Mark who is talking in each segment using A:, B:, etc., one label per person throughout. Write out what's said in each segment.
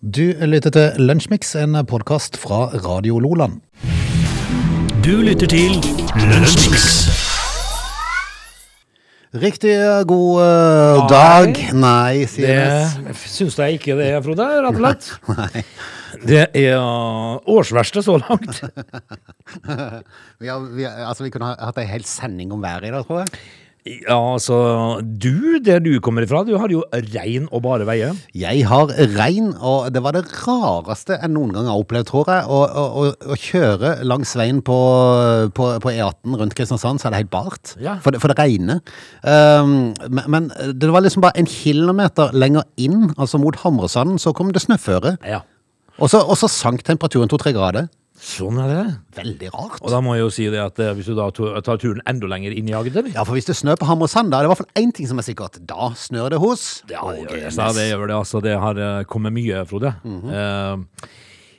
A: Du lytter til Lunsjmix, en podkast fra Radio Loland.
B: Du lytter til Lunsjmix.
A: Riktig god eh,
B: Nei.
A: dag Nei, sier Nes.
B: Det syns jeg ikke det, Frode. Rett og slett. Det er uh, årsverste så langt.
A: Vi, har, vi, har- altså, vi kunne ha- hatt ei hel sending om været i dag, tror jeg.
B: Ja, altså, du, der du kommer ifra, du har jo rein og bare veie.
A: Jeg har regn, og det var det rareste jeg noen gang har opplevd, tror jeg. Å, å, å, å kjøre langs veien på, på, på E18 rundt Kristiansand, så er det helt bart.
B: Ja.
A: For, det, for det regner. Um, men, men det var liksom bare en kilometer lenger inn, altså mot Hamresanden, så kom det snøføre.
B: Ja.
A: Og så, og så sank temperaturen to-tre grader.
B: Sånn er det.
A: Veldig rart.
B: Og da må jeg jo si det at eh, hvis du da to- tar turen enda lenger inn i Agder
A: Ja, for hvis det snør på Hammersand, da er det i hvert fall én ting som er sikkert. Da snør det hos eh,
B: Ja,
A: Åge
B: jeg
A: Næss.
B: sa det Mhm. gjør det. Altså, det har eh, kommet mye, Frode. Eh,
A: Eller,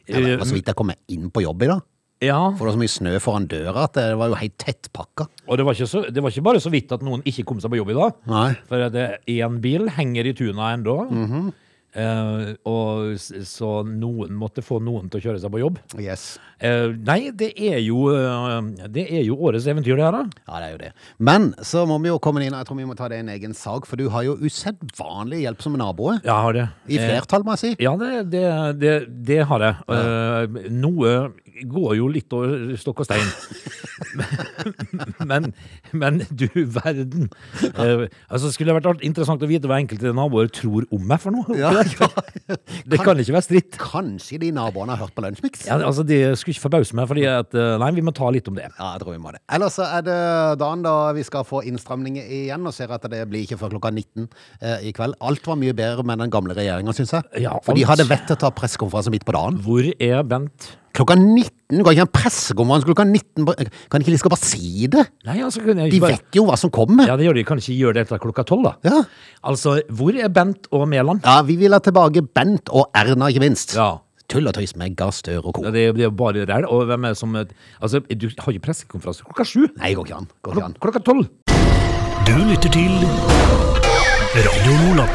A: det
B: eh,
A: var så vidt jeg kom altså, inn på jobb i dag.
B: ja,
A: For det var så mye snø foran døra at det var jo helt tettpakka.
B: og det var, ikke så, det var ikke bare så vidt at noen ikke kom seg på jobb i dag.
A: Nei.
B: For at det- én bil henger i tuna ennå. eh, og s- så noen måtte få noen til å kjøre seg på jobb.
A: Yes.
B: Eh, nei, det er jo eh, Det er jo årets eventyr, det her, da.
A: Ja, det er jo det. Men så må vi jo komme inn, og jeg tror vi må ta det i en egen sak, for du har jo usedvanlig hjelp som nabo.
B: Jeg har det.
A: I
B: Eh,
A: flertall, må jeg si.
B: ja, det, det, det, det har jeg. Eh, noe går jo litt over stokk og stein. men, men du verden. Eh, altså, skulle det vært alt interessant å vite hva enkelte naboer tror om meg for noe?
A: Ja,
B: Det kan ikke være stritt.
A: Kanskje de naboene har hørt på Lunsjmix?
B: Ja, altså Det skulle ikke forbause meg, fordi at eh, Nei, vi må ta litt om det.
A: Ja, jeg tror vi må det. Ellers så er det dagen da vi skal få innstramninger igjen, og ser at det blir ikke før klokka 19 eh, i kveld. Alt var mye bedre med den gamle regjeringa, syns jeg.
B: Ja,
A: For de
B: alt.
A: hadde vett til å ta pressekonferanse midt på dagen.
B: Hvor er Bent?
A: Klokka 19! Du kan ikke ha en pressekonferanse klokka 19! på- Kan ikke de skal bare si det?
B: Nei, altså kunne jeg
A: De
B: ikke bare
A: vet jo hva som kommer!
B: Ja, det gjør de kanskje gjør det etter klokka tolv, da.
A: Ja.
B: Altså, hvor er Bent og Mæland?
A: ja, vi vil ha tilbake Bent og Erna, ikke minst.
B: Ja.
A: Tull og tøys med Gahr Støre og co.
B: Ja, Det er det er jo bare ræl. Og hvem er det som Altså, du har jo pressekonferanse klokka sju.
A: Nei, går ikke an. Går ikke
B: Klok
A: an.
B: klokka tolv.
C: Du lytter til Radio Lola.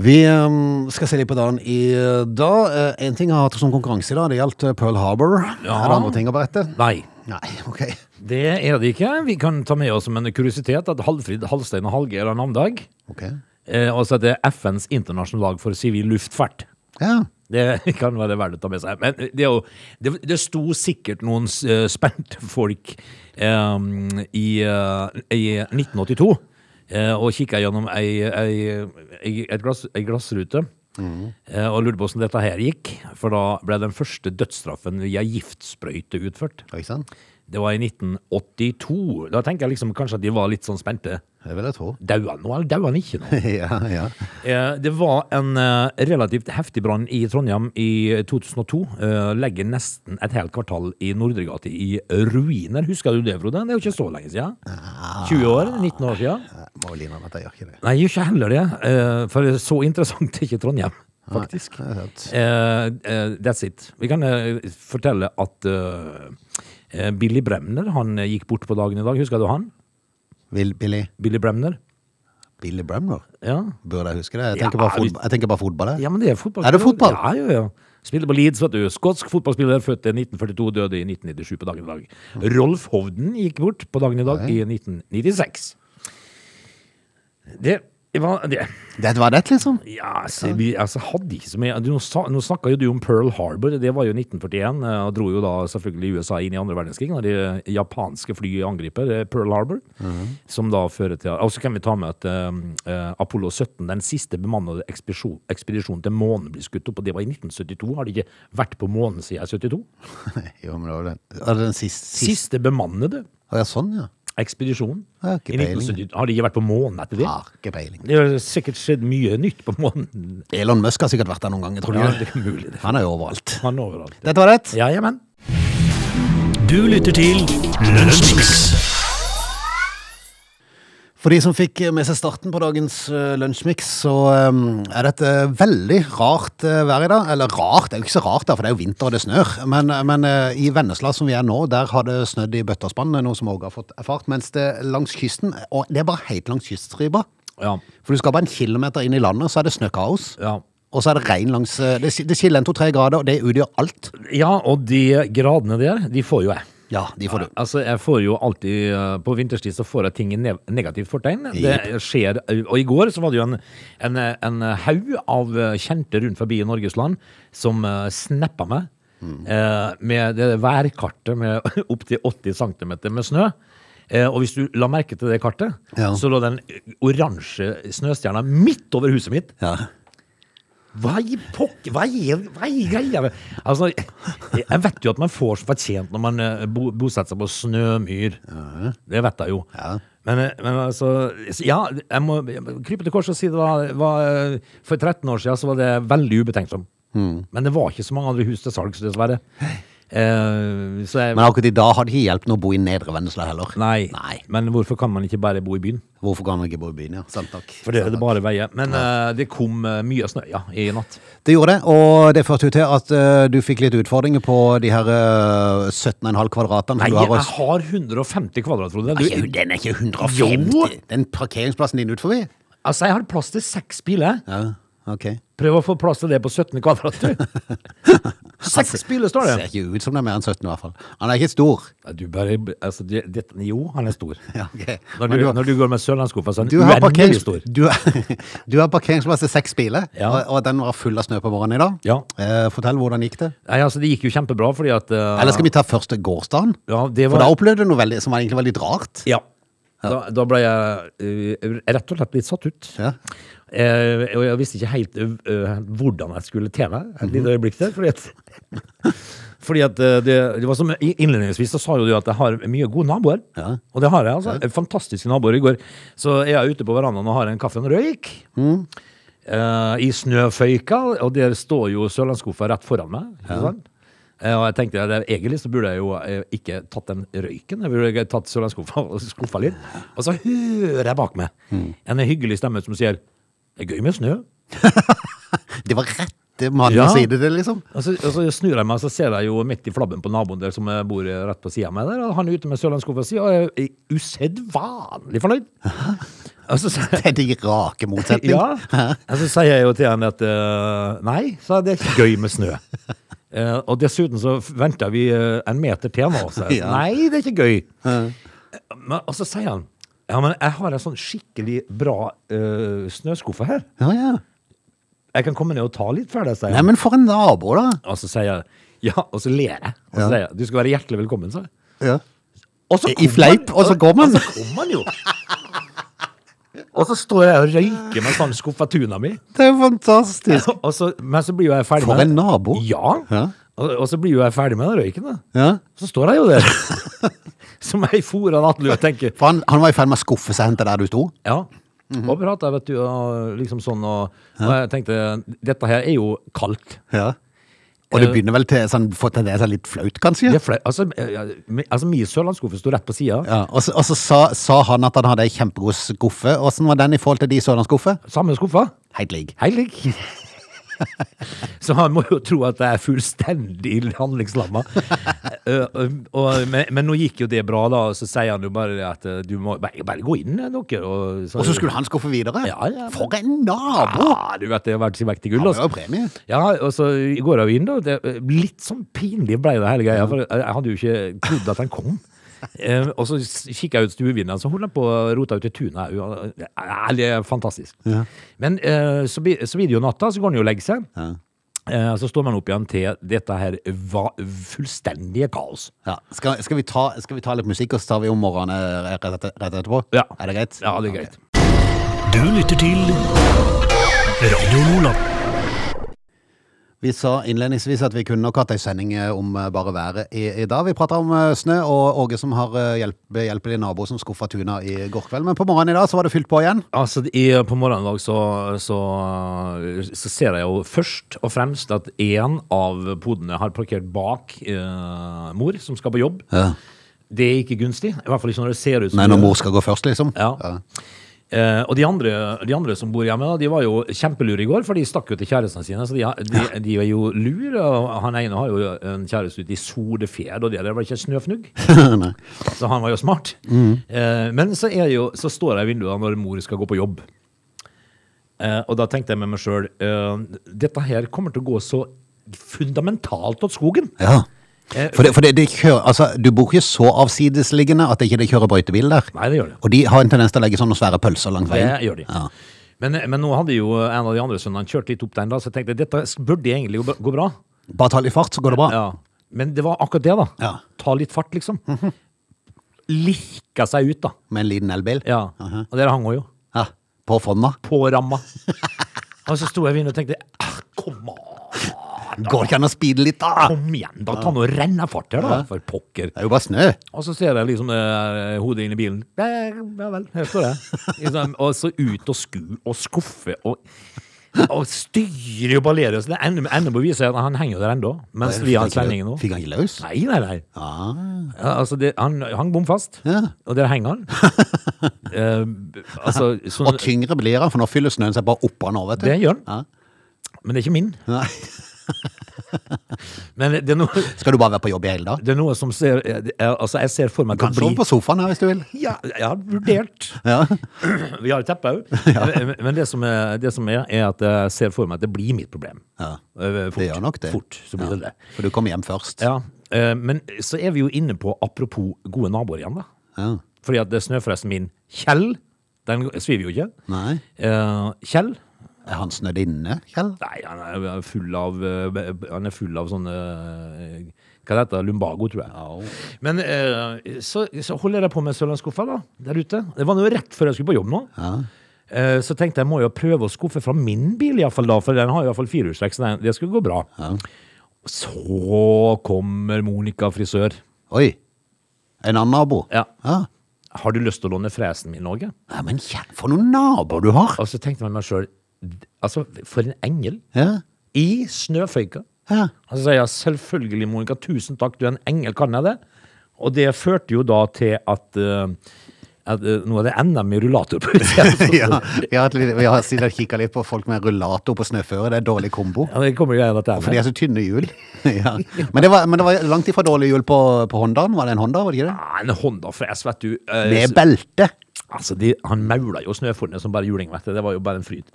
A: Vi ehm, skal se litt på dagen i dag. Eh, En ting jeg har hatt som konkurranse i dag, det gjaldt eh, Pearl Harbor.
B: Ja.
A: Er det andre ting å berette?
B: Nei.
A: Nei, ok.
B: Det er det ikke. Vi kan ta med oss som en kuriositet at Halvfrid Halstein og Halgeir har navnedag.
A: Ok.
B: Eh, og så er det FNs internasjonale dag for sivil luftfart.
A: Ja.
B: Det kan være verdt å ta med seg. Men det, er jo, det, det sto sikkert noen s- eh, spente folk eh, i, eh, i 1982 eh, og kikka gjennom ei, ei, ei, et glass, ei glassrute. eh, Og lurte på hvordan dette her gikk, for da ble den første dødsstraffen via giftsprøyte utført.
A: Ikke sant?
B: Det var i 1982. Da tenker jeg liksom kanskje at de var litt sånn spente.
A: Det vil jeg tro.
B: Daua han nå, eller daua han ikke nå?
A: ja, ja.
B: Eh, Det var en eh, relativt heftig brann i Trondheim i 2002. Eh, Legger nesten et helt kvartal i Nordre gate i ruiner. Husker du det, Frode? Det er jo ikke så lenge siden. 20 år? 19 år siden?
A: Jeg må vel innrømme at jeg gjør ikke det.
B: Nei, jeg gjør ikke heller det. eh, For så interessant er ikke Trondheim, faktisk.
A: Nei, det er sant.
B: Eh, eh, That's it. Vi kan eh, fortelle at eh, eh, Billy Bremner han eh, gikk bort på dagen i dag. Husker du han?
A: Vil Billy,
B: Billy Bremner?
A: Billy Bremner?
B: Ja.
A: Burde jeg huske det? Jeg
B: Ja,
A: tenker, bare,
B: vi-
A: fotball, jeg tenker bare fotball. jeg.
B: Ja, men det er fotball.
A: Er det fotball?
B: Ja, ja, ja. Spiller på Leeds, vet du. Skotsk fotballspiller, født i 1942, døde i 1997 på dagen i dag. Rolf Hovden gikk bort på dagen i dag i 1996. Det var det.
A: Det var det, liksom.
B: Ja, altså, vi altså, hadde ikke så mye du, Nå, sa- nå snakka jo du om Pearl Harbor, det var jo 1941. eh, Og dro jo da selvfølgelig USA inn i andre verdenskrig når de eh, japanske flyet angriper eh, Pearl Harbor. Som da fører til Og så kan vi ta med at eh, eh, Apollo 17, den siste bemannede ekspedisjon- ekspedisjonen til månen, blir skutt opp. Og det var i 1972. Har de ikke vært på månen siden 72?
A: jo, men det var den, var det den siste, siste.
B: Siste bemannede
A: Å, Ja, sånn, ja.
B: ekspedisjon.
A: Ja, ikke
B: I 1972. Har de ikke vært på månen etter det?
A: Har ikke peiling.
B: Det har sikkert skjedd mye nytt på månen.
A: Elon Musk har sikkert vært der noen ganger, tror du
B: Ja,
A: ikke det?
B: det er mulig. det.
A: Han er jo overalt.
B: Han overalt.
A: Dette var det.
B: Ja, jamen.
C: Du lytter til Lunsjmix.
A: For de som fikk med seg starten på dagens uh, lunsjmix, så eh, er dette veldig rart eh, vær i dag. Eller rart, det er jo ikke så rart, da, for det er jo vinter og det snør. Men, men eh, i Vennesla, som vi er nå, der har det snødd i bøtta og spann, eh, noe som Åge har fått erfart. Mens det langs kysten, og det er bare helt langs kyststripa.
B: Ja.
A: For du skal bare en kilometer inn i landet, så er det snøkaos.
B: Ja.
A: og så er det regn langs eh, Det, sk- det skiller en to-tre grader, og det utgjør alt.
B: Ja, og de gradene der, de får jo jeg.
A: Ja, de får du.
B: Altså, jeg får jo alltid eh, På vinterstid så får jeg ting i nev- negativt fortegn. Det skjer eh, Og i går så var det jo en, en, en haug av eh, kjente rundt forbi i Norges land som uh, snappa meg
A: Mm.
B: eh, med det værkartet med opptil 80 cm med snø. Eh, og hvis du la merke til det kartet,
A: Ja.
B: så lå den oransje snøstjerna midt over huset mitt.
A: Ja.
B: Hva i pokker, hva er, hva er greia? med- Altså, jeg vet jo at man får så fortjent når man eh, bo, bosetter seg på Snømyr. Det vet jeg jo.
A: Ja.
B: Men, eh, men altså, så ja, jeg må krype til korset og si det da. det var, eh, For 13 år siden så var det veldig ubetenksom.
A: Hmm.
B: Men det var ikke så mange andre hus til salgs, dessverre. Eh, så jeg,
A: Men akkurat i dag har det ikke hjulpet noe å bo i Nedre Vennesla heller.
B: nei.
A: Nei.
B: Men hvorfor kan man ikke bare bo i byen?
A: Hvorfor kan man ikke bo i byen? ja? Sant nok.
B: For det er det bare veier. Men eh, det kom eh, mye snø, ja, i natt.
A: Det gjorde det, og det førte jo til at eh, du fikk litt utfordringer på de her eh, 17,5 kvadratene.
B: Nei,
A: som du
B: jeg
A: har å-
B: har 150 kvadrat, Frode.
A: Nei,
B: Du-
A: Den er ikke
B: Jo.
A: 150! Den parkeringsplassen din ut forbi?
B: Altså, jeg har plass til seks biler.
A: Ja, ok.
B: Prøv å få plass til det på 17 kvadrat, du. Seks biler står
A: Ser
B: det.
A: ikke ut som det er mer enn 17 i hvert fall. Han er ikke stor.
B: Ja, Du bare, altså, det, det, jo, han er stor.
A: Ja, ok.
B: Når
A: Men
B: du,
A: du-
B: når du går med sørlandskuffa, så er
A: Du
B: han
A: har,
B: uendelig
A: parkerings...
B: stor.
A: du, du har parkeringsplass til seks biler,
B: Ja.
A: og, og den var full av snø på morgenen i dag.
B: Ja.
A: Eh, fortell hvordan gikk det.
B: Nei, altså, det gikk jo kjempebra, fordi at eh,
A: Eller skal vi ta først gårsdagen?
B: Ja, det
A: For
B: var
A: da opplevde du noe veldig, som var egentlig var litt rart.
B: Ja. Da, da ble jeg eh, rett og slett litt satt ut.
A: Ja.
B: Eh, og jeg visste ikke helt eh, hvordan jeg skulle tjene et lite øyeblikk der. Fordi at, Mhm. fordi at eh, det, det var som i- Innledningsvis så sa jo du at jeg har mye gode naboer.
A: Ja.
B: Og det har jeg. altså Fantastiske naboer. I går så er jeg ute på verandaen og har en kaffe og en røyk. Eh, I snøføyka, og der står jo Sørlandskuffa rett foran meg. Ikke sant? Eh, Og jeg tenkte at jeg- egentlig så burde jeg jo eh, ikke tatt den røyken. Jeg burde tatt Sørlandskuffa og skuffa litt. Og så hører jeg bak meg en hyggelig stemme som sier det er gøy med snø.
A: Det var rett mann
B: Ja.
A: å si det, det, liksom.
B: Og så, og så snur jeg meg, og så ser jeg jo midt i flabben på naboen der som eh, bor eh, rett på sida av meg der. Og han er ute med sørlandskuffa si og er eh, usedvanlig fornøyd. Og så, sier jeg-
A: Det er de rake motsetning.
B: ja. Og så sier jeg jo til han at eh, nei, sa jeg, det er ikke gøy med snø. Eh, og dessuten så venter vi eh, en meter til nå. Så jeg,
A: Ja.
B: Nei, det er ikke gøy. Men, og så sier han ja, men jeg har en sånn skikkelig bra eh, snøskuffe her.
A: Ja, ja.
B: Jeg kan komme ned og ta litt før det, sier han.
A: Nei, men for en nabo, da.
B: Og så sier jeg ja, og så ler jeg. Og så
A: Ja.
B: sier jeg du skal være hjertelig velkommen, sa jeg.
A: Ja.
B: Og så
A: I
B: kom
A: fleip, og så kom han.
B: Og så kom han jo. og så står jeg og røyker med sånn skuffatuna mi.
A: Det er jo fantastisk.
B: Og så, men så blir jo jeg ferdig
A: For
B: med
A: en nabo.
B: Ja.
A: Ja.
B: Og, og så blir jo jeg ferdig med den røyken, da.
A: Ja.
B: Så står jeg jo der. Som ei fora nattlue og tenker
A: For han, han var i ferd med å skuffe seg hen til der du sto.
B: ja.
A: Mhm.
B: Og prata, vet du, og liksom sånn, og, og jeg tenkte Dette her er jo kaldt.
A: Ja. Og det
B: Eh.
A: begynner vel til sånn, få til det seg litt flaut,
B: Det
A: kanskje?
B: er flau. Altså, eh, mi- altså, min sørlandskuffe sto rett på sida.
A: Ja, og så, og så sa, sa han at han hadde ei kjempegod skuffe. Åssen var den i forhold til de sørlandsskuffe?
B: Samme skuffa.
A: Helt lik.
B: Hei, Lik. Så han må jo tro at jeg er fullstendig handlingslamma. Eh, og- men, men nå gikk jo det bra, da. Og så sier han jo bare det at eh, du må bare, bare gå inn, eh, dere. Og så,
A: Og så skulle han skuffe videre?
B: Ja, ja.
A: For en nabo!
B: ja, Du vet, det har vært sin vekt i gull.
A: Han har
B: Altså.
A: jo premie.
B: Ja, og så går jeg jo inn, da. Det, eh, litt sånn pinlig ble det hele greia. For jeg- jeg hadde jo ikke trodd at han kom. Eh, og så s- kikket jeg ut stuevinduet, så holdt han på å rote ut i tunet. her. Ja, ja, Det er fantastisk. Men eh, så, blir- så blir det jo natta, så går han jo og legger seg. Eh, Så står man opp igjen til dette her va- fullstendige kaos.
A: Ja. Skal, skal, vi ta, skal vi ta litt musikk, og så tar vi om morgenen eh, rett, etter, rett etterpå?
B: Ja.
A: Er det greit?
B: Ja, det er greit.
C: Du lytter til Radio Nordland.
A: Vi sa innledningsvis at vi kunne nok hatt ei sending eh, om eh, bare været i, i dag. Vi prata om eh, snø og Åge som har eh, hjelp, behjelpelig nabo som skuffa tuna i går kveld. Men på morgenen i dag så var det fylt på igjen.
B: Altså, i, på morgenen i dag så, så, så ser jeg jo først og fremst at én av podene har parkert bak eh, mor, som skal på jobb. Det er ikke gunstig. I hvert fall ikke når det ser ut som
A: Nei, når mor skal gå først, liksom.
B: Ja. Eh, og de andre, de andre som bor hjemme, da, de var jo kjempelure i går, for de stakk jo til kjærestene sine. Så de, har- de, de er jo lure. Og han ene har jo en kjæreste ute i solfjær, og det der var ikke snøfnugg.
A: Nei.
B: Så han var jo smart. Eh, men så, er jo, så står jeg i vinduet når mor skal gå på jobb. Eh, og da tenkte jeg med meg sjøl dette her kommer til å gå så fundamentalt åt skogen.
A: Ja.
B: Eh,
A: For, det, for det, de kjører, altså, du bor ikke så avsidesliggende at ikke de kjører brøytebil der.
B: Nei, det gjør det.
A: Og de har en tendens til å legge sånne svære pølser langs veien.
B: Det gjør de.
A: Ja.
B: Men, eh, men nå hadde jo en av de andre sønnene kjørt litt opp den, da, så jeg tenkte dette burde egentlig gå bra- gå bra.
A: Bare ta litt fart, så går det bra.
B: Ja. Men det var akkurat det, da.
A: Ja.
B: Ta litt fart, liksom. Lirka seg ut, da.
A: Med en liten elbil.
B: Ja. Og der hang hun jo.
A: Ja. På fonna.
B: På ramma. Og så sto jeg ved vinduet og tenkte «Ah, Kom an,
A: Går det ikke an å speede litt, da?
B: kom igjen, da. Ta nå rennefart her, da. For pokker.
A: Det er jo bare snø.
B: Og så ser jeg liksom eh, hodet inn i bilen. Ja, ja vel, her står det. Liksom, og så ut og sku og skuffe og, og styre og ballere. Så det ender, ender på å vise at han henger jo der ennå, mens vi har sendingen nå.
A: Fikk han ikke løs?
B: Nei, nei, nei. Ja, altså det, han hang bom fast,
A: Ja.
B: og der henger han. Eh, altså, sånn,
A: Og tyngre blir han, for nå fyller snøen seg bare oppå han nå, vet du.
B: det gjør han,
A: Ja.
B: men det er ikke min.
A: Nei.
B: Men det er noe,
A: Skal du bare være på jobb i hele dag?
B: det er noe som ser eh, Altså, jeg ser for meg
A: Kan sove på sofaen her hvis du vil.
B: ja, Jeg har vurdert.
A: Ja.
B: Vi har et teppe òg. Men- Men det som, er, det som er, er at jeg ser for meg at det blir mitt problem.
A: Ja.
B: Eh, Fort,
A: Det gjør nok det.
B: Fort, så blir det det.
A: For du kommer hjem først.
B: Ja, eh, men så er vi jo inne på apropos gode naboer igjen, da.
A: Ja.
B: Fordi at det er snøforresten min, Kjell, den sviver jo ikke.
A: Nei.
B: Eh, Kjell
A: Er han snødd inne, Kjell?
B: Nei, han er- han er full av eh, be- Han er full av sånne eh, Hva det heter det? Lumbago, tror jeg. Men eh, så, så holder jeg på med sørlandsskuffa da, der ute. Det var nå rett før jeg skulle på jobb nå. Eh, Så tenkte jeg må jo prøve å skuffe fra min bil, i hvert fall da, for den har i hvert fall firehjulstrekk, så den- det skulle gå bra. Så kommer Monica frisør.
A: Oi. En annen nabo?
B: Ja.
A: Ja.
B: Har du lyst til å låne fresen min, Norge?
A: Ja, men Kjell, for noen naboer du har!
B: Og så tenkte jeg med meg sjøl Altså, for en engel.
A: Ja.
B: I snøføyka.
A: Ja.
B: Og så sier jeg selvfølgelig, Monica, tusen takk, du er en engel, kan jeg det? Og det førte jo da til at, eh, at eh, nå er det NM i rullator på utsiden.
A: ja. Vi har, et lite- vi har siden kikka litt på folk med rullator på snøføre. Det er dårlig kombo.
B: Ja, det kommer jo igjen at det er
A: For de
B: med.
A: er så tynne hjul. ja. men, det var, men det var langt ifra dårlig hjul på, på Hondaen. Var det en Honda? var det ikke det?
B: Ja, en Honda-fres, vet du. eh,
A: Med belte!
B: Altså, de, han maula jo snøfornet som bare juling, vet du. Det var jo bare en fryd.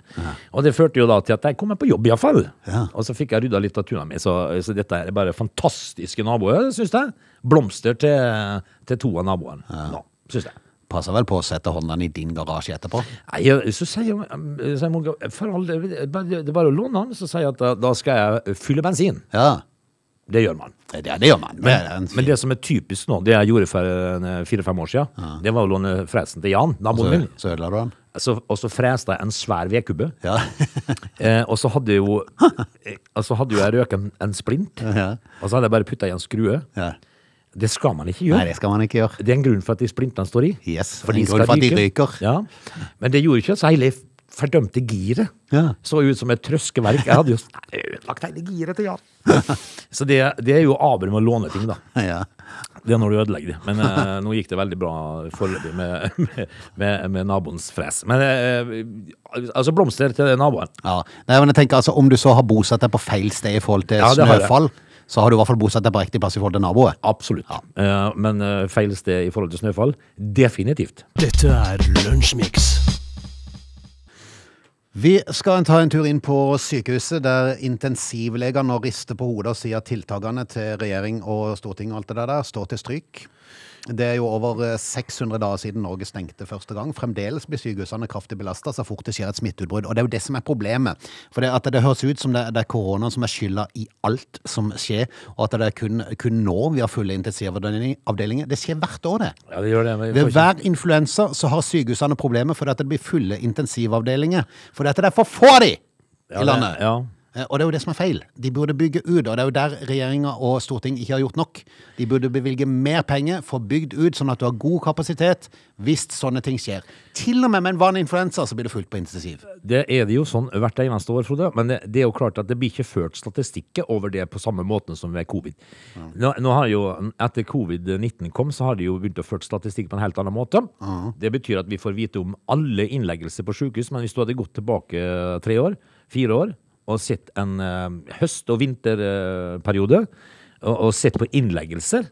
B: Og det førte jo da til at jeg kom meg på jobb, iallfall.
A: Ja.
B: Og så fikk jeg rydda litt av tuna mi, så, så dette her er bare fantastiske naboer, syns jeg. Blomster til, til to av naboene nå, syns jeg.
A: Passer vel på å sette Hondaen i din garasje etterpå.
B: Nei, jeg- så sier, jeg- sier Morgan, for all del, det er bare- det er bare å låne han, så sier jeg at da- da skal jeg fylle bensin.
A: Ja,
B: Det gjør man.
A: det, det gjør man. Det er en
B: Men det som er typisk nå, det jeg gjorde for en, eh, fire-fem år siden, det var å låne fresen til Jan, naboen min.
A: så, så ødela du den.
B: Så, og så freste jeg en svær vedkubbe.
A: Ja.
B: Eh, og så hadde jo eh, altså hadde jo jeg røket en, en splint,
A: Ja.
B: og så hadde jeg bare putta i en skrue.
A: ja.
B: Det skal man ikke
A: Nei,
B: gjøre.
A: det skal man ikke gjøre.
B: Det er en grunn for at de splintene står i.
A: Yes, en
B: For de
A: grunn
B: skal
A: for at de
B: ryke.
A: ryker.
B: Ja. Men det gjorde ikke så hele fordømte giret.
A: Ja.
B: Så ut som et trøskeverk. Jeg hadde jo s- ødelagt hele giret til Jan. Så det, det er jo aber med å låne ting, da.
A: Ja.
B: Det er når du ødelegger det. Men eh, nå gikk det veldig bra foreløpig med, med, med, med naboens fres. Men eh, altså, blomster til naboen.
A: Ja. Nei, men jeg tenker altså, Om du så har bosatt deg på feil sted i forhold til
B: Ja, det har jeg.
A: snøfall, så har du i hvert fall bosatt deg på riktig plass i forhold til naboet.
B: Absolutt. Eh, men eh, feil sted i forhold til snøfall? Definitivt.
C: Dette er Lunsjmix.
A: Vi skal ta en tur inn på sykehuset, der intensivleger nå rister på hodet og sier at tiltakene til regjering og storting og alt det der står til stryk. Det er jo over eh, 600 dager siden Norge stengte første gang. Fremdeles blir sykehusene kraftig belasta så fort det skjer et smitteutbrudd. Og det er jo det som er problemet. For det, at det høres ut som det, det er korona som er skylda i alt som skjer, og at det er kun, kun nå vi har fulle intensivavdelinger. Det skjer hvert år, det.
B: Ja, det gjør det. men vi får
A: Ved
B: ikke-
A: hver influensa så har sykehusene problemer fordi at det blir fulle intensivavdelinger. Fordi at det er for få av de
B: Ja,
A: i
B: det-
A: landet.
B: ja.
A: Eh, Og det er jo det som er feil. De burde bygge ut, og det er jo der regjeringa og storting ikke har gjort nok. De burde bevilge mer penger, få bygd ut sånn at du har god kapasitet hvis sånne ting skjer. Til og med med en vanlig influensa så blir det fullt på intensiv.
B: Det er det jo sånn hvert eneste år, Frode. Men det, det er jo klart at det blir ikke ført statistikker over det på samme måten som ved covid. Nå, nå har jo, Etter covid-19 kom, så har de jo begynt å ført statistikk på en helt annen måte. Det betyr at vi får vite om alle innleggelser på sykehus, men hvis du hadde gått tilbake tre år, fire år, og sett en eh, høst- og vinterperiode, og, og sett på innleggelser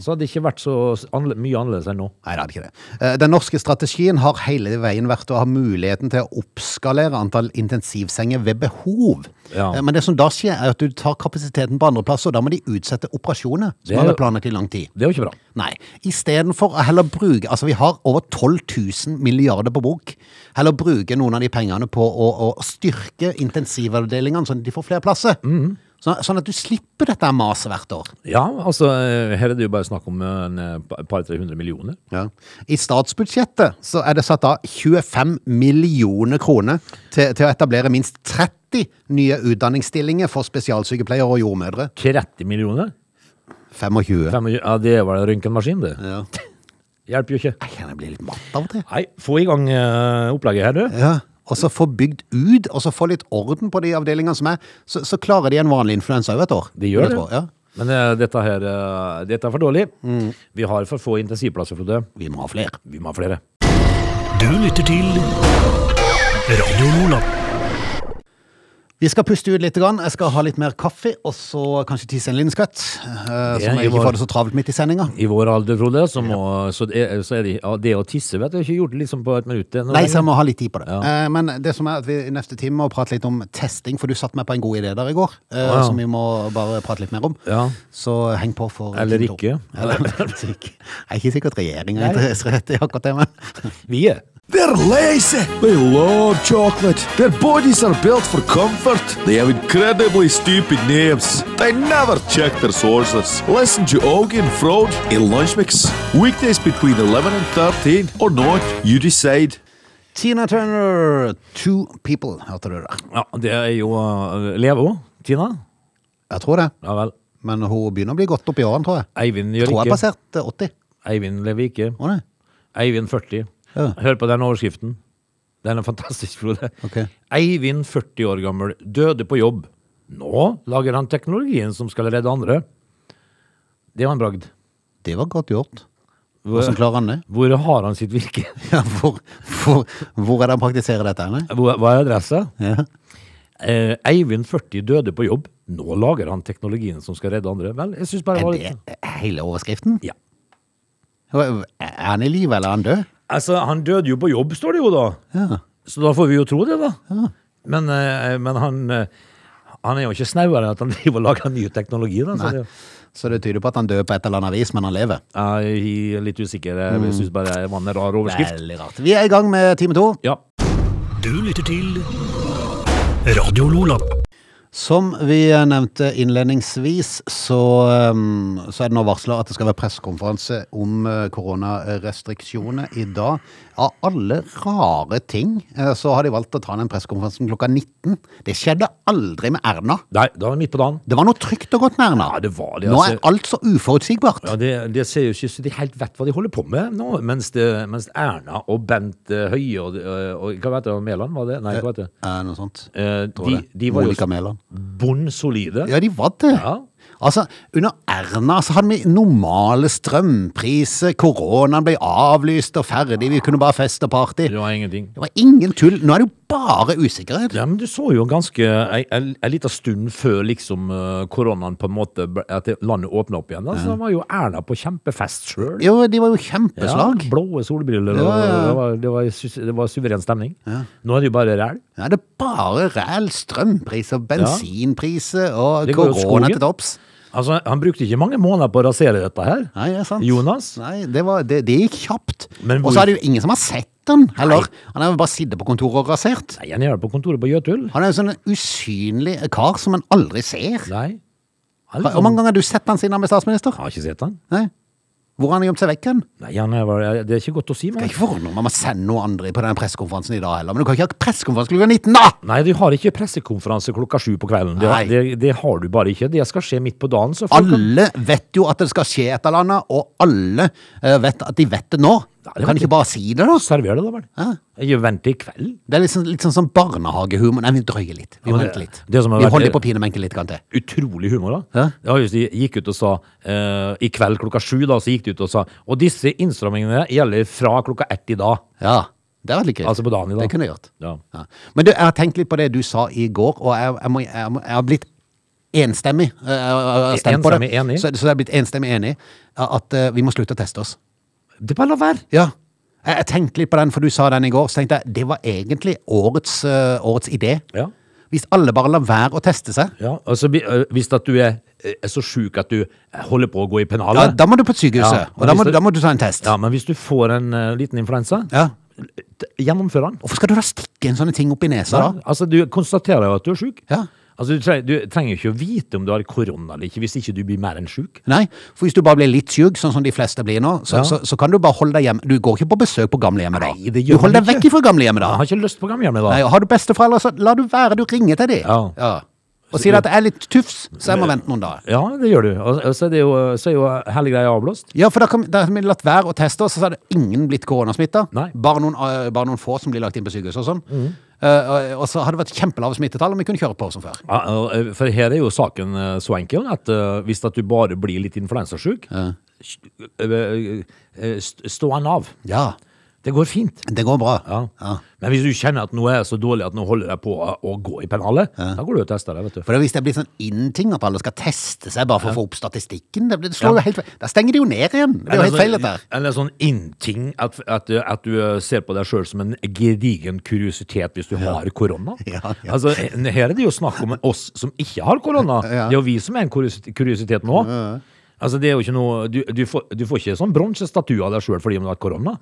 B: så hadde det ikke vært så annerle- mye annerledes enn nå.
A: Nei, det hadde ikke det. Eh, Den norske strategien har hele veien vært å ha muligheten til å oppskalere antall intensivsenger ved behov.
B: Ja.
A: Eh, Men det som da skjer, er at du tar kapasiteten på andre plasser, og da må de utsette operasjoner
B: Det
A: som
B: er
A: hadde
B: jo-
A: planlagt i lang tid.
B: Det er jo ikke bra.
A: Nei. Istedenfor å heller bruke Altså, vi har over 12 000 milliarder på bok. Heller bruke noen av de pengene på å, å styrke intensivavdelingene, sånn at de får flere plasser.
B: Mm.
A: Så, sånn at du slipper dette maset hvert år.
B: Ja, altså, eh, her er det jo bare snakk om eh, en eh, pa- par-tre hundre millioner.
A: Ja. I statsbudsjettet så er det satt av 25 millioner kroner til, til å etablere minst 30 nye utdanningsstillinger for spesialsykepleiere og jordmødre.
B: 30 millioner?
A: 25.
B: Fem, ja, det var en røntgenmaskin, det.
A: Ja.
B: Hjelper jo ikke.
A: Jeg kjenner jeg blir litt matt av og til.
B: Nei, få i gang eh, opplegget her, du.
A: Ja. Og så få bygd ut, og så få litt orden på de avdelingene som er. Så, så klarer de en vanlig influensa over et år.
B: De gjør
A: Vil jeg
B: det.
A: tro, Ja.
B: Men eh, dette her eh, Dette er for dårlig. Vi har for få intensivplasser, Frode.
A: Vi må ha flere.
B: Vi må ha flere.
C: Du lytter til Radio Lola.
A: Vi skal puste ut litt. Grann. Jeg skal ha litt mer kaffe, og så kanskje tisse en liten skvett. eh,
B: Det
A: Så må jeg
B: gjør-
A: ikke får det så travelt midt i sendinga.
B: I vår alder, Frode, så, må, så, er, så er det, ja, det å tisse vet du, jeg har ikke gjort det liksom på et minutt. det nå.
A: Nei, så jeg må ha litt tid på det.
B: Ja.
A: Eh, men det som er at vi i neste time må prate litt om testing, for du satte meg på en god idé der i går, eh,
B: Wow.
A: som vi må bare prate litt mer om.
B: Ja.
A: Så heng på for
B: Eller
A: time to.
B: ikke.
A: Eller, jeg er ikke sikkert regjeringen er interessert i akkurat det, men
B: Vi er
D: They're lazy. They love chocolate. Their bodies are built for comfort. They have incredibly stupid names. They never check their sources. Listen to Augie and Frode in Lunch Mix. Weekdays between 11 and 13 or not, you decide.
A: Tina Turner, Two People, hørte du det?
B: Ja, det er jo uh, Levo. Tina?
A: Jeg tror det.
B: Ja vel.
A: Men hun begynner å bli godt opp i årene, tror jeg.
B: Eivind gjør
A: Tror jeg
B: ikke.
A: passerte 80.
B: Eivind lever ikke.
A: Å nei.
B: Eivind 40.
A: Ja.
B: Hør på den overskriften. Den er fantastisk, Frode.
A: Ok.
B: Eivind, 40 år gammel, døde på jobb. Nå lager han teknologien som skal redde andre. Det var en bragd.
A: Det var godt gjort.
B: Hvor,
A: Hvordan klarer han det?
B: hvor har han sitt virke?
A: Ja, hvor, hvor, hvor er det han praktiserer dette? Nei?
B: Hvor, hva er adressa?
A: Ja.
B: Eh, Eivind 40 døde på jobb. Nå lager han teknologien som skal redde andre. Vel, jeg synes bare det
A: Er
B: var
A: det
B: litt...
A: hele overskriften?
B: Ja.
A: Er han i live, eller er han død?
B: Altså, han døde jo på jobb, står det jo da.
A: Ja.
B: Så da får vi jo tro det, da. Men, eh, men han, eh, han er jo ikke snauere enn at han driver og lager ny teknologi. Da, så
A: Nei.
B: det,
A: Så det tyder på at han dør på et eller annet vis, men han lever.
B: jeg er litt usikker.
A: Mm.
B: Jeg syns bare det var en rar overskrift.
A: Veldig rart. Vi er i gang med time to.
B: Ja.
C: Du lytter til Radio Lola.
A: Som vi eh, nevnte innledningsvis, så, um, så er det nå varsla at det skal være pressekonferanse om uh, koronarestriksjoner i dag. Av alle rare ting uh, så har de valgt å ta den pressekonferansen klokka 19. Det skjedde aldri med Erna.
B: Nei, da var det midt på dagen.
A: Det var noe trygt og godt med Erna.
B: Ja, det var det,
A: Nå
B: altså.
A: er alt så uforutsigbart.
B: Ja, det, det ser jo ikke så de helt vet hva de holder på med nå, mens, det, mens Erna og Bent eh, Høie og, og hva heter det, Mæland var det? Nei, hva heter det?
A: Eh, noe sånt.
B: Eh,
A: Tror
B: de,
A: det.
B: de var
A: Monica
B: jo
A: Mæland.
B: bunnsolide.
A: Ja, de var det.
B: Ja.
A: Altså, Under Erna så hadde vi normale strømpriser, koronaen ble avlyst og ferdig, vi kunne bare fest og party.
B: Det var ingenting.
A: Det var ingen tull. Nå er det jo bare usikkerhet.
B: Ja, men du så jo ganske ei, ei, ei lita stund før liksom eh, koronaen på en måte ble- At det- landet åpna opp igjen. Da så var jo Erna på kjempefest sjøl.
A: Jo, de var jo kjempeslag.
B: blåe solbriller, og
A: Ja, ja, ja.
B: Det, var, det, var, sus- det var suveren stemning. Nå er det jo bare ræl.
A: Ja, det er bare ræl. Strømpriser, bensinpriser og
B: Det går jo
A: korona
B: skogen.
A: til topps.
B: Altså, han brukte ikke mange måneder på å rasere dette her.
A: Nei, det er sant.
B: Jonas?
A: Nei, det, var, det, det gikk kjapt.
B: Men hvor-
A: Og så er det jo ingen som har sett den heller. Han har jo bare sittet på kontoret og rasert.
B: Nei, han gjør det på kontoret på Jøtul.
A: Han er jo sånn en usynlig kar som en aldri ser.
B: Nei. Han, sånn-
A: Hvor mange ganger har du sett han siden han ble statsminister?
B: Jeg har ikke sett han.
A: Nei. Hvor har han gjemt seg vekk hen?
B: Nei, han er, vel- Det er ikke godt å si,
A: Det
B: men
A: er ikke forundret om han må sende noen andre på den pressekonferansen i dag heller. Men du kan ikke ha pressekonferanse klokka 19, da!
B: Nei, du har ikke pressekonferanse klokka sju på kvelden. Det,
A: Nei.
B: det, det har du bare ikke. Det skal skje midt på dagen. Så folk kan-
A: Alle vet jo at det skal skje et eller annet, og alle eh, vet at de vet det nå.
B: Nei, det
A: Kan
B: vet
A: de ikke bare si det, da?
B: Server det, da vel.
A: Hæ?
B: Jeg venter i kveld.
A: Det er litt sånn, litt sånn, sånn barnehagehumor. Nei, vi drøyer litt. Vi
B: Ja, men
A: venter
B: det-
A: litt.
B: det som har
A: vi
B: vært-
A: holder på pinebenken litt, kan til.
B: Utrolig humor, da.
A: Hæ?
B: Ja, just, de gikk ut og sa eh, I kveld klokka sju, da, så gikk de ut og sa Og disse innstrammingene gjelder fra klokka ett i dag.
A: Ja, det hadde vært litt gøy.
B: Altså på dagen i dag.
A: Det kunne jeg gjort.
B: Ja.
A: Ja. Men du, jeg har tenkt litt på det du sa i går, og jeg, jeg, må, jeg, må, jeg har blitt enstemmig eh, eh, stemt på det.
B: Enstemmig enig?
A: Så, så det er blitt enstemmig enig eh, at eh, vi må slutte å teste oss.
B: Det er bare la være!
A: Ja. Jeg, jeg tenkte litt på den, for du sa den i går. Så tenkte jeg det var egentlig årets, eh, årets idé.
B: Ja.
A: Hvis alle bare lar være å teste seg,
B: Ja, altså, vi- øh, hvis at du er, er så sjuk at du eh, holder på å gå i
A: ja,
B: pennalet
A: da må du på et sykehus.
B: Ja,
A: og da
B: men hvis
A: må,
B: det-
A: da må du ta en test.
B: Ja, men hvis du får en eh, liten influensa,
A: Ja.
B: t- gjennomfør den.
A: Hvorfor skal du da stikke en sånne ting opp i nesa, da?
B: Altså, du konstaterer jo at du er sjuk.
A: Ja.
B: Altså, du, tre du trenger jo ikke å vite om du har korona eller ikke, hvis ikke du blir mer enn sjuk.
A: Nei, for hvis du bare blir litt syk, sånn som de fleste blir nå, så,
B: Ja.
A: så, så kan du bare holde deg hjemme. Du går ikke på besøk på gamlehjemmet da.
B: Nei, det
A: du
B: gjør
A: holder
B: man
A: deg
B: ikke.
A: vekk fra gamlehjemmet da.
B: Jeg har ikke lyst på gamlehjemmet da.
A: Nei, og har du besteforeldre, så la du være. Du ringer til dem.
B: Ja.
A: Og sier at jeg er litt tufs, så jeg må vente noen dager.
B: Ja, det gjør du. Og, og så, er det jo, så er jo hele greia avblåst.
A: Ja, for da, kan, da har vi latt være å teste oss, og så hadde ingen blitt koronasmitta.
B: Nei. Mm.
A: Bare, noen, eh, bare noen få som blir lagt inn på sykehus og sånn. Eh, og, og så hadde det vært kjempelave smittetall om vi kunne kjøre på som før.
B: Ja, og, eh, For her er jo saken eh, så enkel at eh, hvis at du bare blir litt influensasjuk, eh, eh, st- stå han av.
A: Ja,
B: Det går fint.
A: det går bra.
B: Ja. Men hvis du kjenner at noe er så dårlig at nå holder jeg på å, å gå i pennalet, da går du og tester deg, vet du.
A: For hvis det blir sånn innting at alle skal teste seg bare for å få opp statistikken, det, blir- det slår jo helt feil. Da stenger de jo ned igjen. Det er jo helt feil dette her.
B: Eller sånn innting at, at, at du eh, ser på deg sjøl som en gedigen kuriositet hvis du har korona.
A: Ja, ja.
B: Altså, her er det jo snakk om oss som ikke har korona.
A: Ja.
B: Det er jo vi som er en kuriosi- kuriositet nå. Altså, det er jo ikke noe Du, du, får, du får ikke sånn bronsestatue av deg sjøl fordi om du har hatt korona.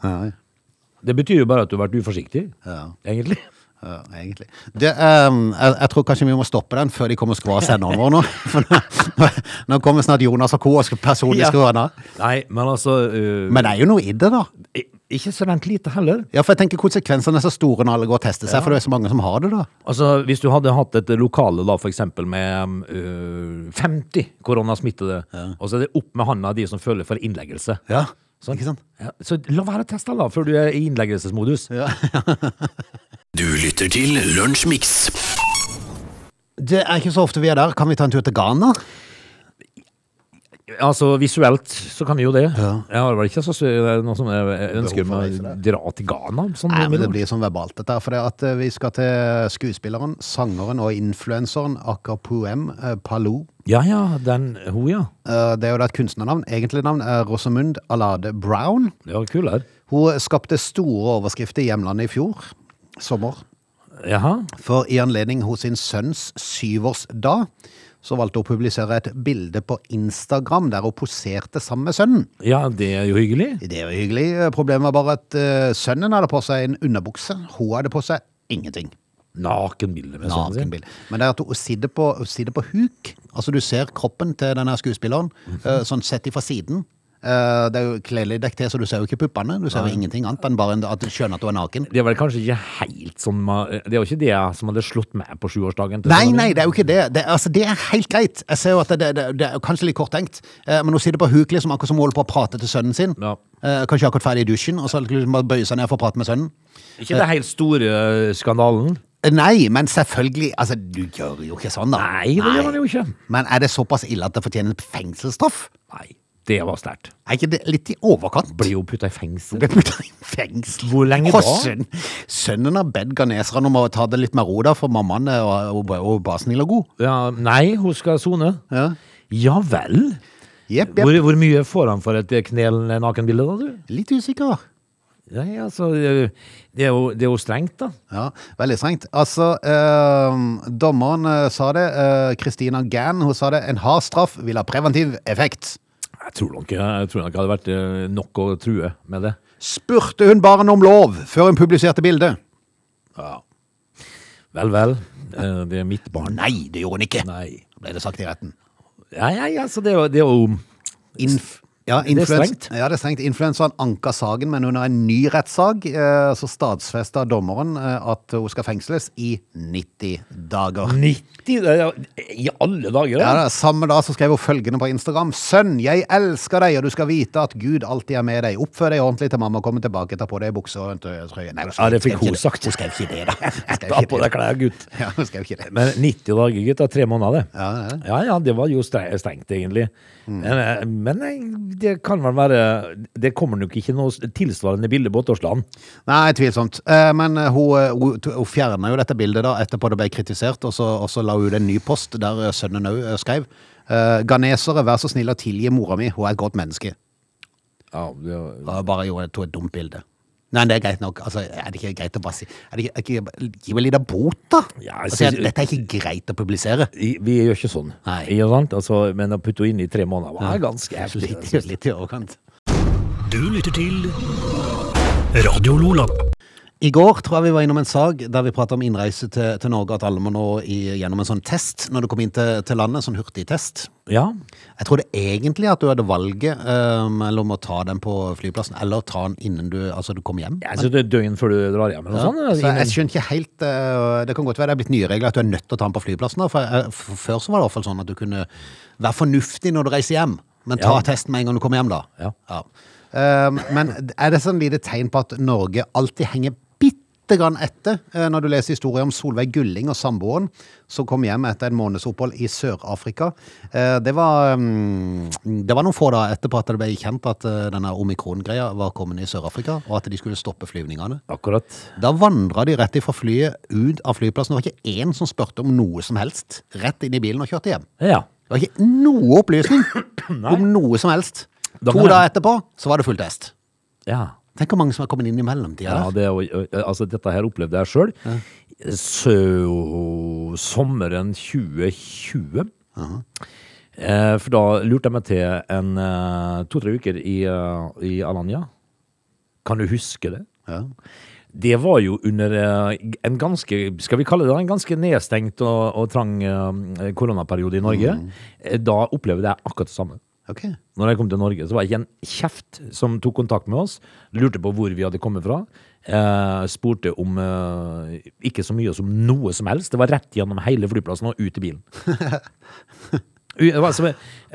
B: Det betyr jo bare at du har vært uforsiktig,
A: Ja.
B: egentlig.
A: Ja, egentlig. Det, ehm, jeg, jeg tror kanskje vi må stoppe den før de kommer og skrur av senderen vår nå. For nå, nå kommer snart Jonas og co. og skal personlig
B: Ja.
A: skru den av.
B: Nei, men altså øh,
A: Men det er jo noe i det, da.
B: i- Ikke så rent lite heller.
A: Ja, for jeg tenker Konsekvensene er så store når alle går og tester seg, for det er så mange som har det, da.
B: Altså, Hvis du hadde hatt et lokale da, for eksempel med øh, 50 koronasmittede, og så er det opp med handa de som føler for innleggelse.
A: Ja,
B: Sånn.
A: ikke sant?
B: Ja, så la være å teste den da, før du er i innleggelsesmodus.
C: Du lytter til Lunsjmix.
A: Det er ikke så ofte vi er der. Kan vi ta en tur til Ghana?
B: Altså, Visuelt så kan vi jo det. Jeg har vel ikke så, så, noe som jeg ønsker
A: Behov for
B: om
A: å
B: å
A: reise der.
B: dra til Ghana. Sånn,
A: Nei, men det
B: mellom.
A: blir sånn verbalt dette her, for det at eh, vi skal til skuespilleren, sangeren og influenseren Akapuem eh, Palou.
B: Ja ja, den Hun, ja.
A: Eh, Det er jo da et kunstnernavn. Egentlig navn er Rosamund Alade Brown.
B: Det var kul her.
A: Hun skapte store overskrifter i hjemlandet i fjor sommer.
B: Jaha.
A: For i anledning hos sin sønns syvårsdag så valgte hun å publisere et bilde på Instagram der hun poserte sammen med sønnen.
B: Ja, det er jo hyggelig.
A: Det var hyggelig. Eh, Problemet var bare at eh, sønnen hadde på seg en underbukse. Hun hadde på seg ingenting.
B: Nakenbilde med sønnen sin.
A: Nakenbilde. Men det er at hun sitter på, hun sitter på huk. Altså du ser kroppen til denne skuespilleren
B: Mhm.
A: eh, sånn sett ifra siden. Eh, Det er jo kledelig dekk til, så du ser jo ikke puppene. Du ser jo ingenting annet enn bare en- at du skjønner at hun er naken.
B: Det er vel kanskje ikke helt sånn ma- Det er jo ikke det som hadde slått meg på sjuårsdagen. til
A: Nei,
B: sønnen min.
A: nei, det er jo ikke det. Det, altså, det er helt greit. Jeg ser jo at det, det, det er kanskje litt kort tenkt, eh, men hun sitter på huk liksom akkurat som hun holder på å prate til sønnen sin.
B: Ja.
A: Eh, kanskje akkurat ferdig i dusjen, og så liksom bare bøye seg ned for å prate med sønnen.
B: Ikke den helt store eh, skandalen?
A: Eh, Nei, men selvfølgelig, altså, du gjør jo ikke sånn da.
B: Nei, det gjør man jo ikke.
A: Men er det såpass ille at det fortjener fengselsstraff?
B: Nei, det var sterkt.
A: Er ikke det litt i overkant?
B: Blir jo putta i fengsel.
A: Ble puttet i fengsel.
B: Hvor lenge da?
A: Og sønn- Sønnen har bedt ghaneserne om å ta det litt med ro da, for mammaen eh, og, og, og bare snill og god.
B: Ja, nei, hun skal sone.
A: Ja.
B: Ja vel.
A: Jepp,
B: Hvor,
A: jepp.
B: hvor mye får han for et eh, knelende nakenbilde, da, du?
A: Litt usikker.
B: Nei, altså, eh, det er jo, det er jo strengt, da.
A: Ja, veldig strengt. Altså, eh, dommeren eh, sa det, eh, Christina Gann, hun sa det, en hard straff vil ha preventiv effekt.
B: Jeg tror nok jeg tror nok det hadde vært eh, nok å true med det.
A: Spurte hun barn om lov før hun publiserte bildet?
B: Vel, vel. eh, Det er mitt barn.
A: Nei, det gjorde hun ikke,
B: Nei.
A: ble det sagt i retten.
B: Nei, nei, altså, det er jo- det er jo
A: Inf ja,
B: Det er
A: influens-
B: strengt.
A: Ja, det er strengt. Influenseren anka saken, men hun har en ny rettssag, eh, så statsfesta dommeren eh, at hun skal fengsles i 90 dager.
B: 90 det er jo- I alle dager,
A: Ja,
B: da?
A: da, samme dag så skrev hun følgende på Instagram. Sønn, jeg elsker deg, og du skal vite at Gud alltid er med deg. Oppfør deg ordentlig til mamma kommer tilbake, ta på deg bukse og en tø- trøye. Nei, hun skrev-
B: Ja, det fikk
A: skrev ikke
B: hun sagt.
A: Hun skrev ikke det, da. Hun skrev
B: Ta
A: ikke
B: på
A: det.
B: deg klær, gutt.
A: Ja, hun skrev ikke det.
B: Men 90 dager, gutt, det er tre måneder, det.
A: Ja, Mm. det er det.
B: ja, ja, det var jo stre- strengt, egentlig. Men, eh, Men, det kan vel være Det kommer nok ikke noe tilsvarende bilde på Åttårsland.
A: Nei, tvilsomt. Eh, Men eh, hun, eh, hun, t- hun fjerna jo dette bildet da, etterpå det ble kritisert, og så, og så la hun ut en ny post der eh, sønnen òg skrev. eh, Ghanesere, vær så snill å tilgi mora mi, hun er et godt menneske.
B: Ja, det-
A: Og bare gjorde tok et dumt bilde. Nei, det er greit nok. Altså, er det ikke greit å bare si er det ikke, er ikke, Gi meg litt av bot, da!
B: Ja, jeg
A: og si at
B: synes-
A: dette er ikke greit å publisere.
B: I- vi gjør ikke sånn.
A: Nei.
B: Ikke sant? Altså, men å putte henne inn i tre måneder var ganske heftig.
A: Litt,
B: altså.
A: litt i overkant.
C: Du lytter til Radio Lola.
A: I går tror jeg vi var innom en sag der vi pratet om innreise til, til Norge, at alle må nå i, gjennom en sånn test når du kom inn til, til landet, sånn hurtigtest.
B: Ja.
A: Jeg trodde egentlig at du hadde valget eh, mellom å ta den på flyplassen, eller ta den innen du, altså, du kom hjem.
B: Jeg synes det er døgn før du drar hjem. sånn, Eller noe sånt, altså,
A: Så Altså, jeg
B: innen-
A: skjønner ikke helt eh, Det kan godt være det er blitt nye regler at du er nødt til å ta den på flyplassen. Da, for jeg, f- Før så var det i hvert fall sånn at du kunne være fornuftig når du reiser hjem, men ta
B: Ja.
A: testen med en gang du kommer hjem, da.
B: Ja.
A: Eh, men er det sånn lite tegn på at Norge alltid henger bitte grann etter? Eh, når du leser historier om Solveig Gulling og samboeren som kom hjem etter en måneds opphold i Sør-Afrika. Eh, det, var, mm, det var noen få dager etterpå at det ble kjent at eh, denne omikron-greia var kommet i Sør-Afrika, og at de skulle stoppe flyvningene.
B: Akkurat.
A: Da vandra de rett ifra flyet ut av flyplassen. Det var ikke én som spurte om noe som helst. Rett inn i bilen og kjørte hjem.
B: Ja.
A: Det var ikke noe opplysning om noe som helst.
B: Da
A: to
B: kan jeg-
A: dager etterpå så var det full test.
B: ja.
A: Tenk hvor mange som har kommet inn i mellomtida.
B: Ja,
A: der.
B: det, er jo- altså, dette her opplevde jeg sjøl. Så sommeren 2020. eh, for da lurte jeg meg til en eh, to-tre uker i, eh, i Alanya. Kan du huske det?
A: Ja.
B: Det var jo under eh, en ganske, skal vi kalle det en ganske nedstengt og, og trang eh, koronaperiode i Norge. Eh, Da opplevde jeg akkurat det samme.
A: Ok.
B: Når jeg kom til Norge, så var det ikke en kjeft som tok kontakt med oss. Lurte på hvor vi hadde kommet fra. Eh, spurte om eh, ikke så mye som noe som helst. Det var rett gjennom hele flyplassen og ut i bilen. U- det var som-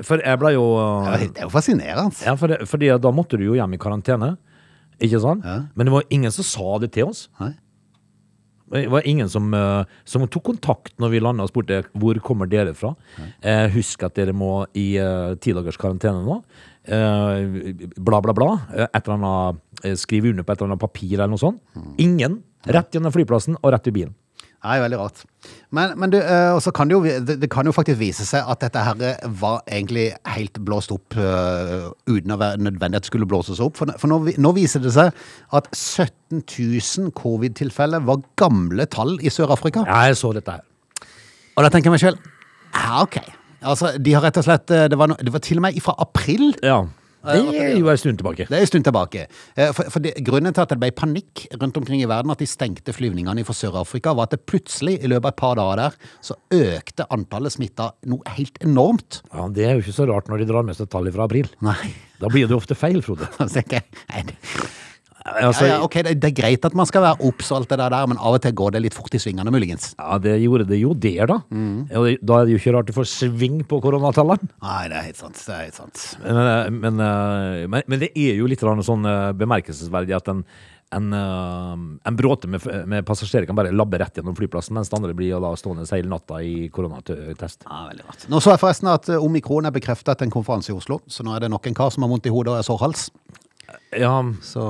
B: For jeg ble jo
A: Ja, Det er jo fascinerende.
B: ja, for, fordi da måtte du jo hjem i karantene. Ikke sant? Men det var ingen som sa det til oss.
A: Nei.
B: Det var ingen som, eh, som tok kontakt når vi landa og spurte hvor kommer dere fra. Eh, husk at dere må i eh, ti dagers karantene nå. Eh, bla, bla, bla. Eh, Et eller annet, eh, skriv under på et eller annet papir eller noe sånt.
A: Mm.
B: Ingen. Rett gjennom flyplassen og rett i bilen.
A: Det er veldig rart. Men, men du, eh, også kan det, jo, det, det kan jo faktisk vise seg at dette her eh, var egentlig helt blåst opp eh, uten å være nødvendig at det skulle blåses opp. For, for nå, vi- nå viser det seg at 17 000 covid-tilfeller var gamle tall i Sør-Afrika.
B: Ja, jeg så dette her.
A: Og da tenker jeg meg sjøl ja, ok. Altså, de har rett og slett eh, Det var, no, det var til og med fra april.
B: Ja. Det er jo en stund tilbake.
A: Det er en stund tilbake. Eh, For, for det, grunnen til at det ble panikk rundt omkring i verden, at de stengte flyvningene fra Sør-Afrika, var at det plutselig, i løpet av et par dager der, så økte antallet smitta noe helt enormt.
B: Ja, Det er jo ikke så rart når de drar med seg tall fra april.
A: Nei.
B: Da blir det jo ofte feil, Frode.
A: Så tenker jeg, nei, det-
B: Altså,
A: ja, ja, ok, det, det er greit at man skal være obs og alt det der, der, men av og til går det litt fort i svingene, muligens.
B: Ja, det gjorde det jo der, da.
A: Mm.
B: Og det- Da er det jo ikke rart du får sving på koronatallene.
A: Nei, det er helt sant. Det er helt sant.
B: Men, eh, men, eh, men, men det er jo litt grann sånn eh, bemerkelsesverdig at en, en, eh, en bråte med, f- med passasjerer kan bare labbe rett gjennom flyplassen, mens det andre blir jo da stående seg hele natta i koronatest.
A: Ja, veldig rart. Nå så jeg forresten at eh, omikron er bekreftet til en konferanse i Oslo, så nå er det nok en kar som har vondt i hodet og er sårhals.
B: Ja,
A: Så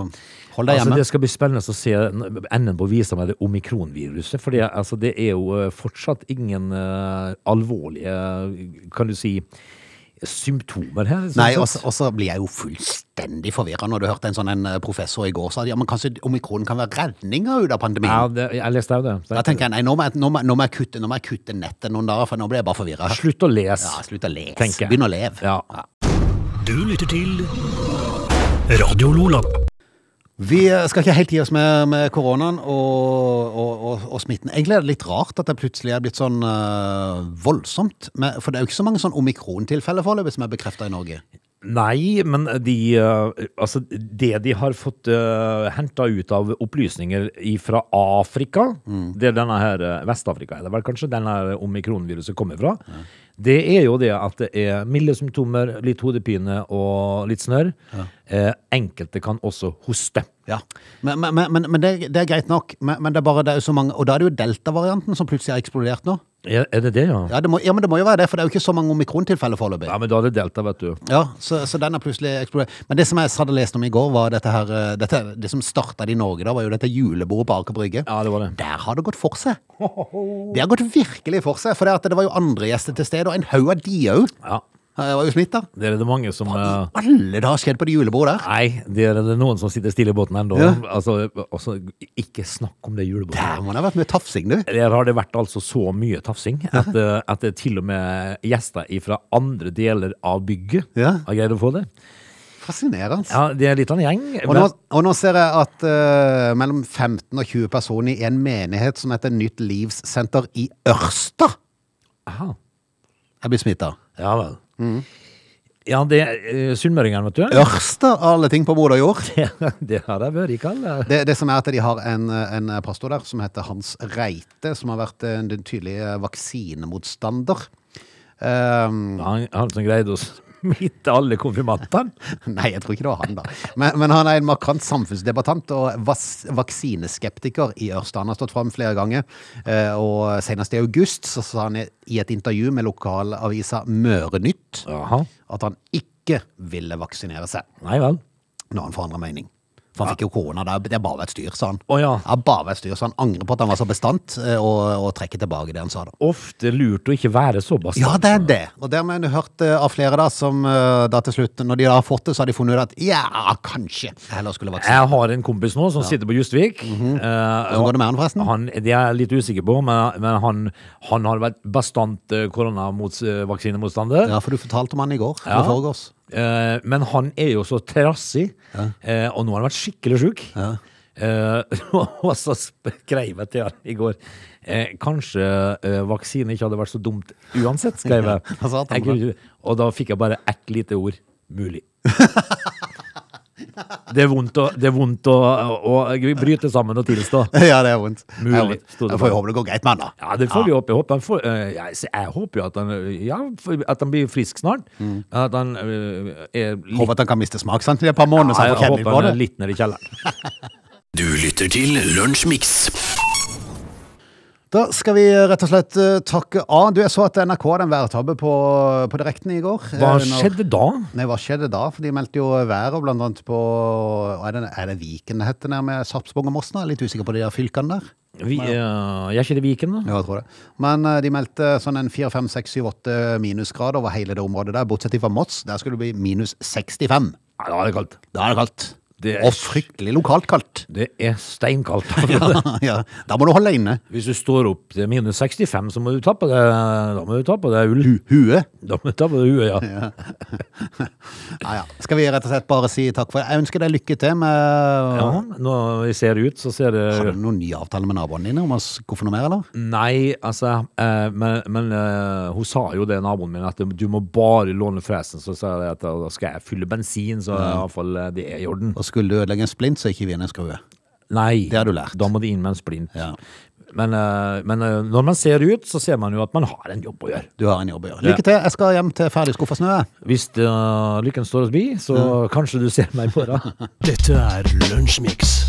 A: hold deg
B: altså
A: hjemme.
B: Det skal bli spennende å se n- enden på visa med det omikronviruset. For det, altså, det er jo eh, fortsatt ingen eh, alvorlige, kan du si, symptomer her. sånn
A: Nei, altså,
B: sett.
A: og så- og så blir jeg jo fullstendig forvirra når du hørte en sånn en eh, professor i går sa at ja, men kanskje omikron kan være redninga ut av pandemien.
B: Ja, det, jeg leste jo det.
A: Da tenker jeg nei, nå må jeg, nå må, jeg- nå må jeg, kutte, nå må jeg kutte nettet noen dager, for nå blir jeg bare forvirra.
B: Slutt å lese.
A: Ja, slutt å lese.
B: tenker jeg.
A: Begynn å leve.
B: Ja.
C: Du lytter til Radio Lola.
A: Vi eh, skal ikke helt gi oss med, med koronaen og, og, og, og smitten. Egentlig er det litt rart at det plutselig er blitt sånn eh, voldsomt. Men, for det er jo ikke så mange sånn omikron-tilfeller foreløpig som er bekrefta i Norge.
B: Nei, men de eh, Altså, det de har fått uh, henta ut av opplysninger fra Afrika, det denne her eh, Vest-Afrika er det vel kanskje, den her omikronviruset kommer fra, det er jo det at det er milde symptomer, litt hodepine og litt snørr. Eh, enkelte kan også hoste.
A: Ja. Men, men, men, men det, det er greit nok, men, men det er bare det er jo så mange Og da er det jo delta-varianten som plutselig har eksplodert nå.
B: Er, er det det, ja?
A: Ja, det må, ja, men det må jo være det, for det er jo ikke så mange omikron-tilfeller foreløpig.
B: Ja, men da er det delta, vet du.
A: Ja, så, så den har plutselig eksplodert. Men det som jeg hadde lest om i går, var dette her eh, dette, Det som starta det i Norge da, var jo dette julebordet på Aker Brygge.
B: Ja, det var det.
A: Der har det gått for seg. Det har gått virkelig for seg. For det, at det var jo andre gjester til stede, og en haug av de òg
B: Ja,
A: var jo smitta.
B: det er det mange som... eh,
A: Alle det har skjedd på det julebordet der.
B: Nei, det er det noen som sitter stille i båten ennå.
A: Ja.
B: Altså, altså, ikke snakk om det julebordet.
A: Der må det ha vært mye tafsing, du.
B: Der har det vært altså så mye tafsing at, eh, at det til og med gjester fra andre deler av bygget
A: Ja.
B: har greid å få det.
A: Fascinerende.
B: Ja, det er litt av en gjeng.
A: Og nå, og nå ser jeg at eh, mellom 15 og 20 personer i en menighet som heter Nytt Livssenter i Ørsta
B: Aha.
A: er blitt smitta.
B: Ja vel.
A: Mm.
B: Ja, det er eh, sunnmøringene, vet du.
A: Ørsta av alle ting på moder jord.
B: Det, det har jeg vært i kall. eh.
A: Det, det som er at de har en, en pastor der som heter Hans Reite, som har vært en tydelig vaksinemotstander. Ehm,
B: Han, han som greide å smitte alle konfirmantene.
A: nei, jeg tror ikke det var han, da. Men, men han er en markant samfunnsdebattant og vas vaksineskeptiker i Ørsta. Han har stått fram flere ganger, eh, og senest i august så sa han i i et intervju med lokalavisa Mørenytt
B: Jaha.
A: at han ikke ville vaksinere seg,
B: Nei vel.
A: når han forandra mening. For han fikk jo korona, det har- det har bare vært styr, sa han.
B: Å ja.
A: Ja, bare vært styr, så han angrer på at han var så bestandt, eh, og, og trekker tilbake det han sa da.
B: Ofte lurt å ikke være så bastant.
A: Ja, det er det. Og det har man jo hørt eh, av flere da, som eh, da til slutt, når de da har fått det, så har de funnet ut at ja, kanskje jeg heller skulle vaksinere.
B: Jeg har en kompis nå som sitter på Justvik.
A: Mhm.
B: Eh,
A: Hvordan går det med han forresten?
B: han, det er jeg litt usikker på, men, men han, han har vært bastant eh, koronavaksinemotstander.
A: Ja, for du fortalte om han i går,
B: Ja.
A: eller foregårs.
B: Eh, men han er jo så trassig, eh, og nå har han vært skikkelig sjuk. Eh, og så skrev jeg til han i går eh, Kanskje eh, vaksine ikke hadde vært så dumt uansett, skrev jeg.
A: Ja, han sa at han
B: Jeg kunne ikke- og da fikk jeg bare ett lite ord. Mulig. Det er vondt å, det er vondt å, å, å bryte sammen og tilstå.
A: ja, det er vondt.
B: Mulig,
A: Det er vondt.
B: sto det
A: Jeg får
B: bare.
A: jo håpe det går greit med han da.
B: Ja, det får vi håpe. Jeg håper, han får, eh, jeg, s- jeg håper jo at han, eh, ja, f- at han blir frisk snart. At han eh, er litt,
A: Mm. Håper at han kan miste smaksansen i et par måneder, så han
B: jeg,
A: får kjenne litt
B: håper
A: på
B: han er
A: det.
B: litt nede i kjelleren.
C: Du lytter til Lunsjmix.
A: Da skal vi eh, rett og slett eh, takke av. Du, jeg så at NRK hadde en værtabbe på, på direkten i går.
B: Hva
A: Eh, når-
B: skjedde da?
A: Nei, hva skjedde da? For de meldte jo været, blant annet på Er det, er det Viken det heter, nærme Sarpsborg og Mossna? Jeg er Litt usikker på de der fylkene der.
B: Vi, eh, jeg er ikke det Viken, da?
A: Ja, jeg tror det. Men eh, de meldte sånn en 4, 5, 6, 7, 8 minusgrader over hele det området der, bortsett fra Moss. Der skulle det bli minus 65.
B: Nei, da er det kaldt.
A: Da er det kaldt.
B: Det er-
A: Og fryktelig lokalt kaldt.
B: Det er steinkaldt.
A: ja, da må du holde deg inne.
B: Hvis du står opp til minus 65, så må du ta på deg Da må du ta på deg ull.
A: Huet.
B: Da må du ta på deg huet, ja.
A: Ja, ja. Skal vi rett og slett bare si takk for det? Jeg ønsker deg lykke til med
B: ja. Når vi ser ut, så ser det
A: Har du noen ny avtale med naboene dine om å skuffe noe mer, eller?
B: Nei, altså eh, Men, men eh, hun sa jo det, naboen min, at du må bare låne fresen. Så sa jeg at da skal jeg fylle bensin, så i hvert fall eh, det er i orden.
A: Og skulle du ødelegge en splint, så ikke vi inn en skrue.
B: Nei,
A: Det har du lært.
B: da må det inn med en splint.
A: Ja.
B: Men, eh, men eh, når man ser ut, så ser man jo at man har en jobb å gjøre.
A: Du har en jobb å gjøre. Lykke til. Jeg skal hjem til ferdig skuffa snø. jeg.
B: Hvis eh, lykken står oss bi, så kanskje du ser meg i morgen.
C: Dette er Lunsjmix.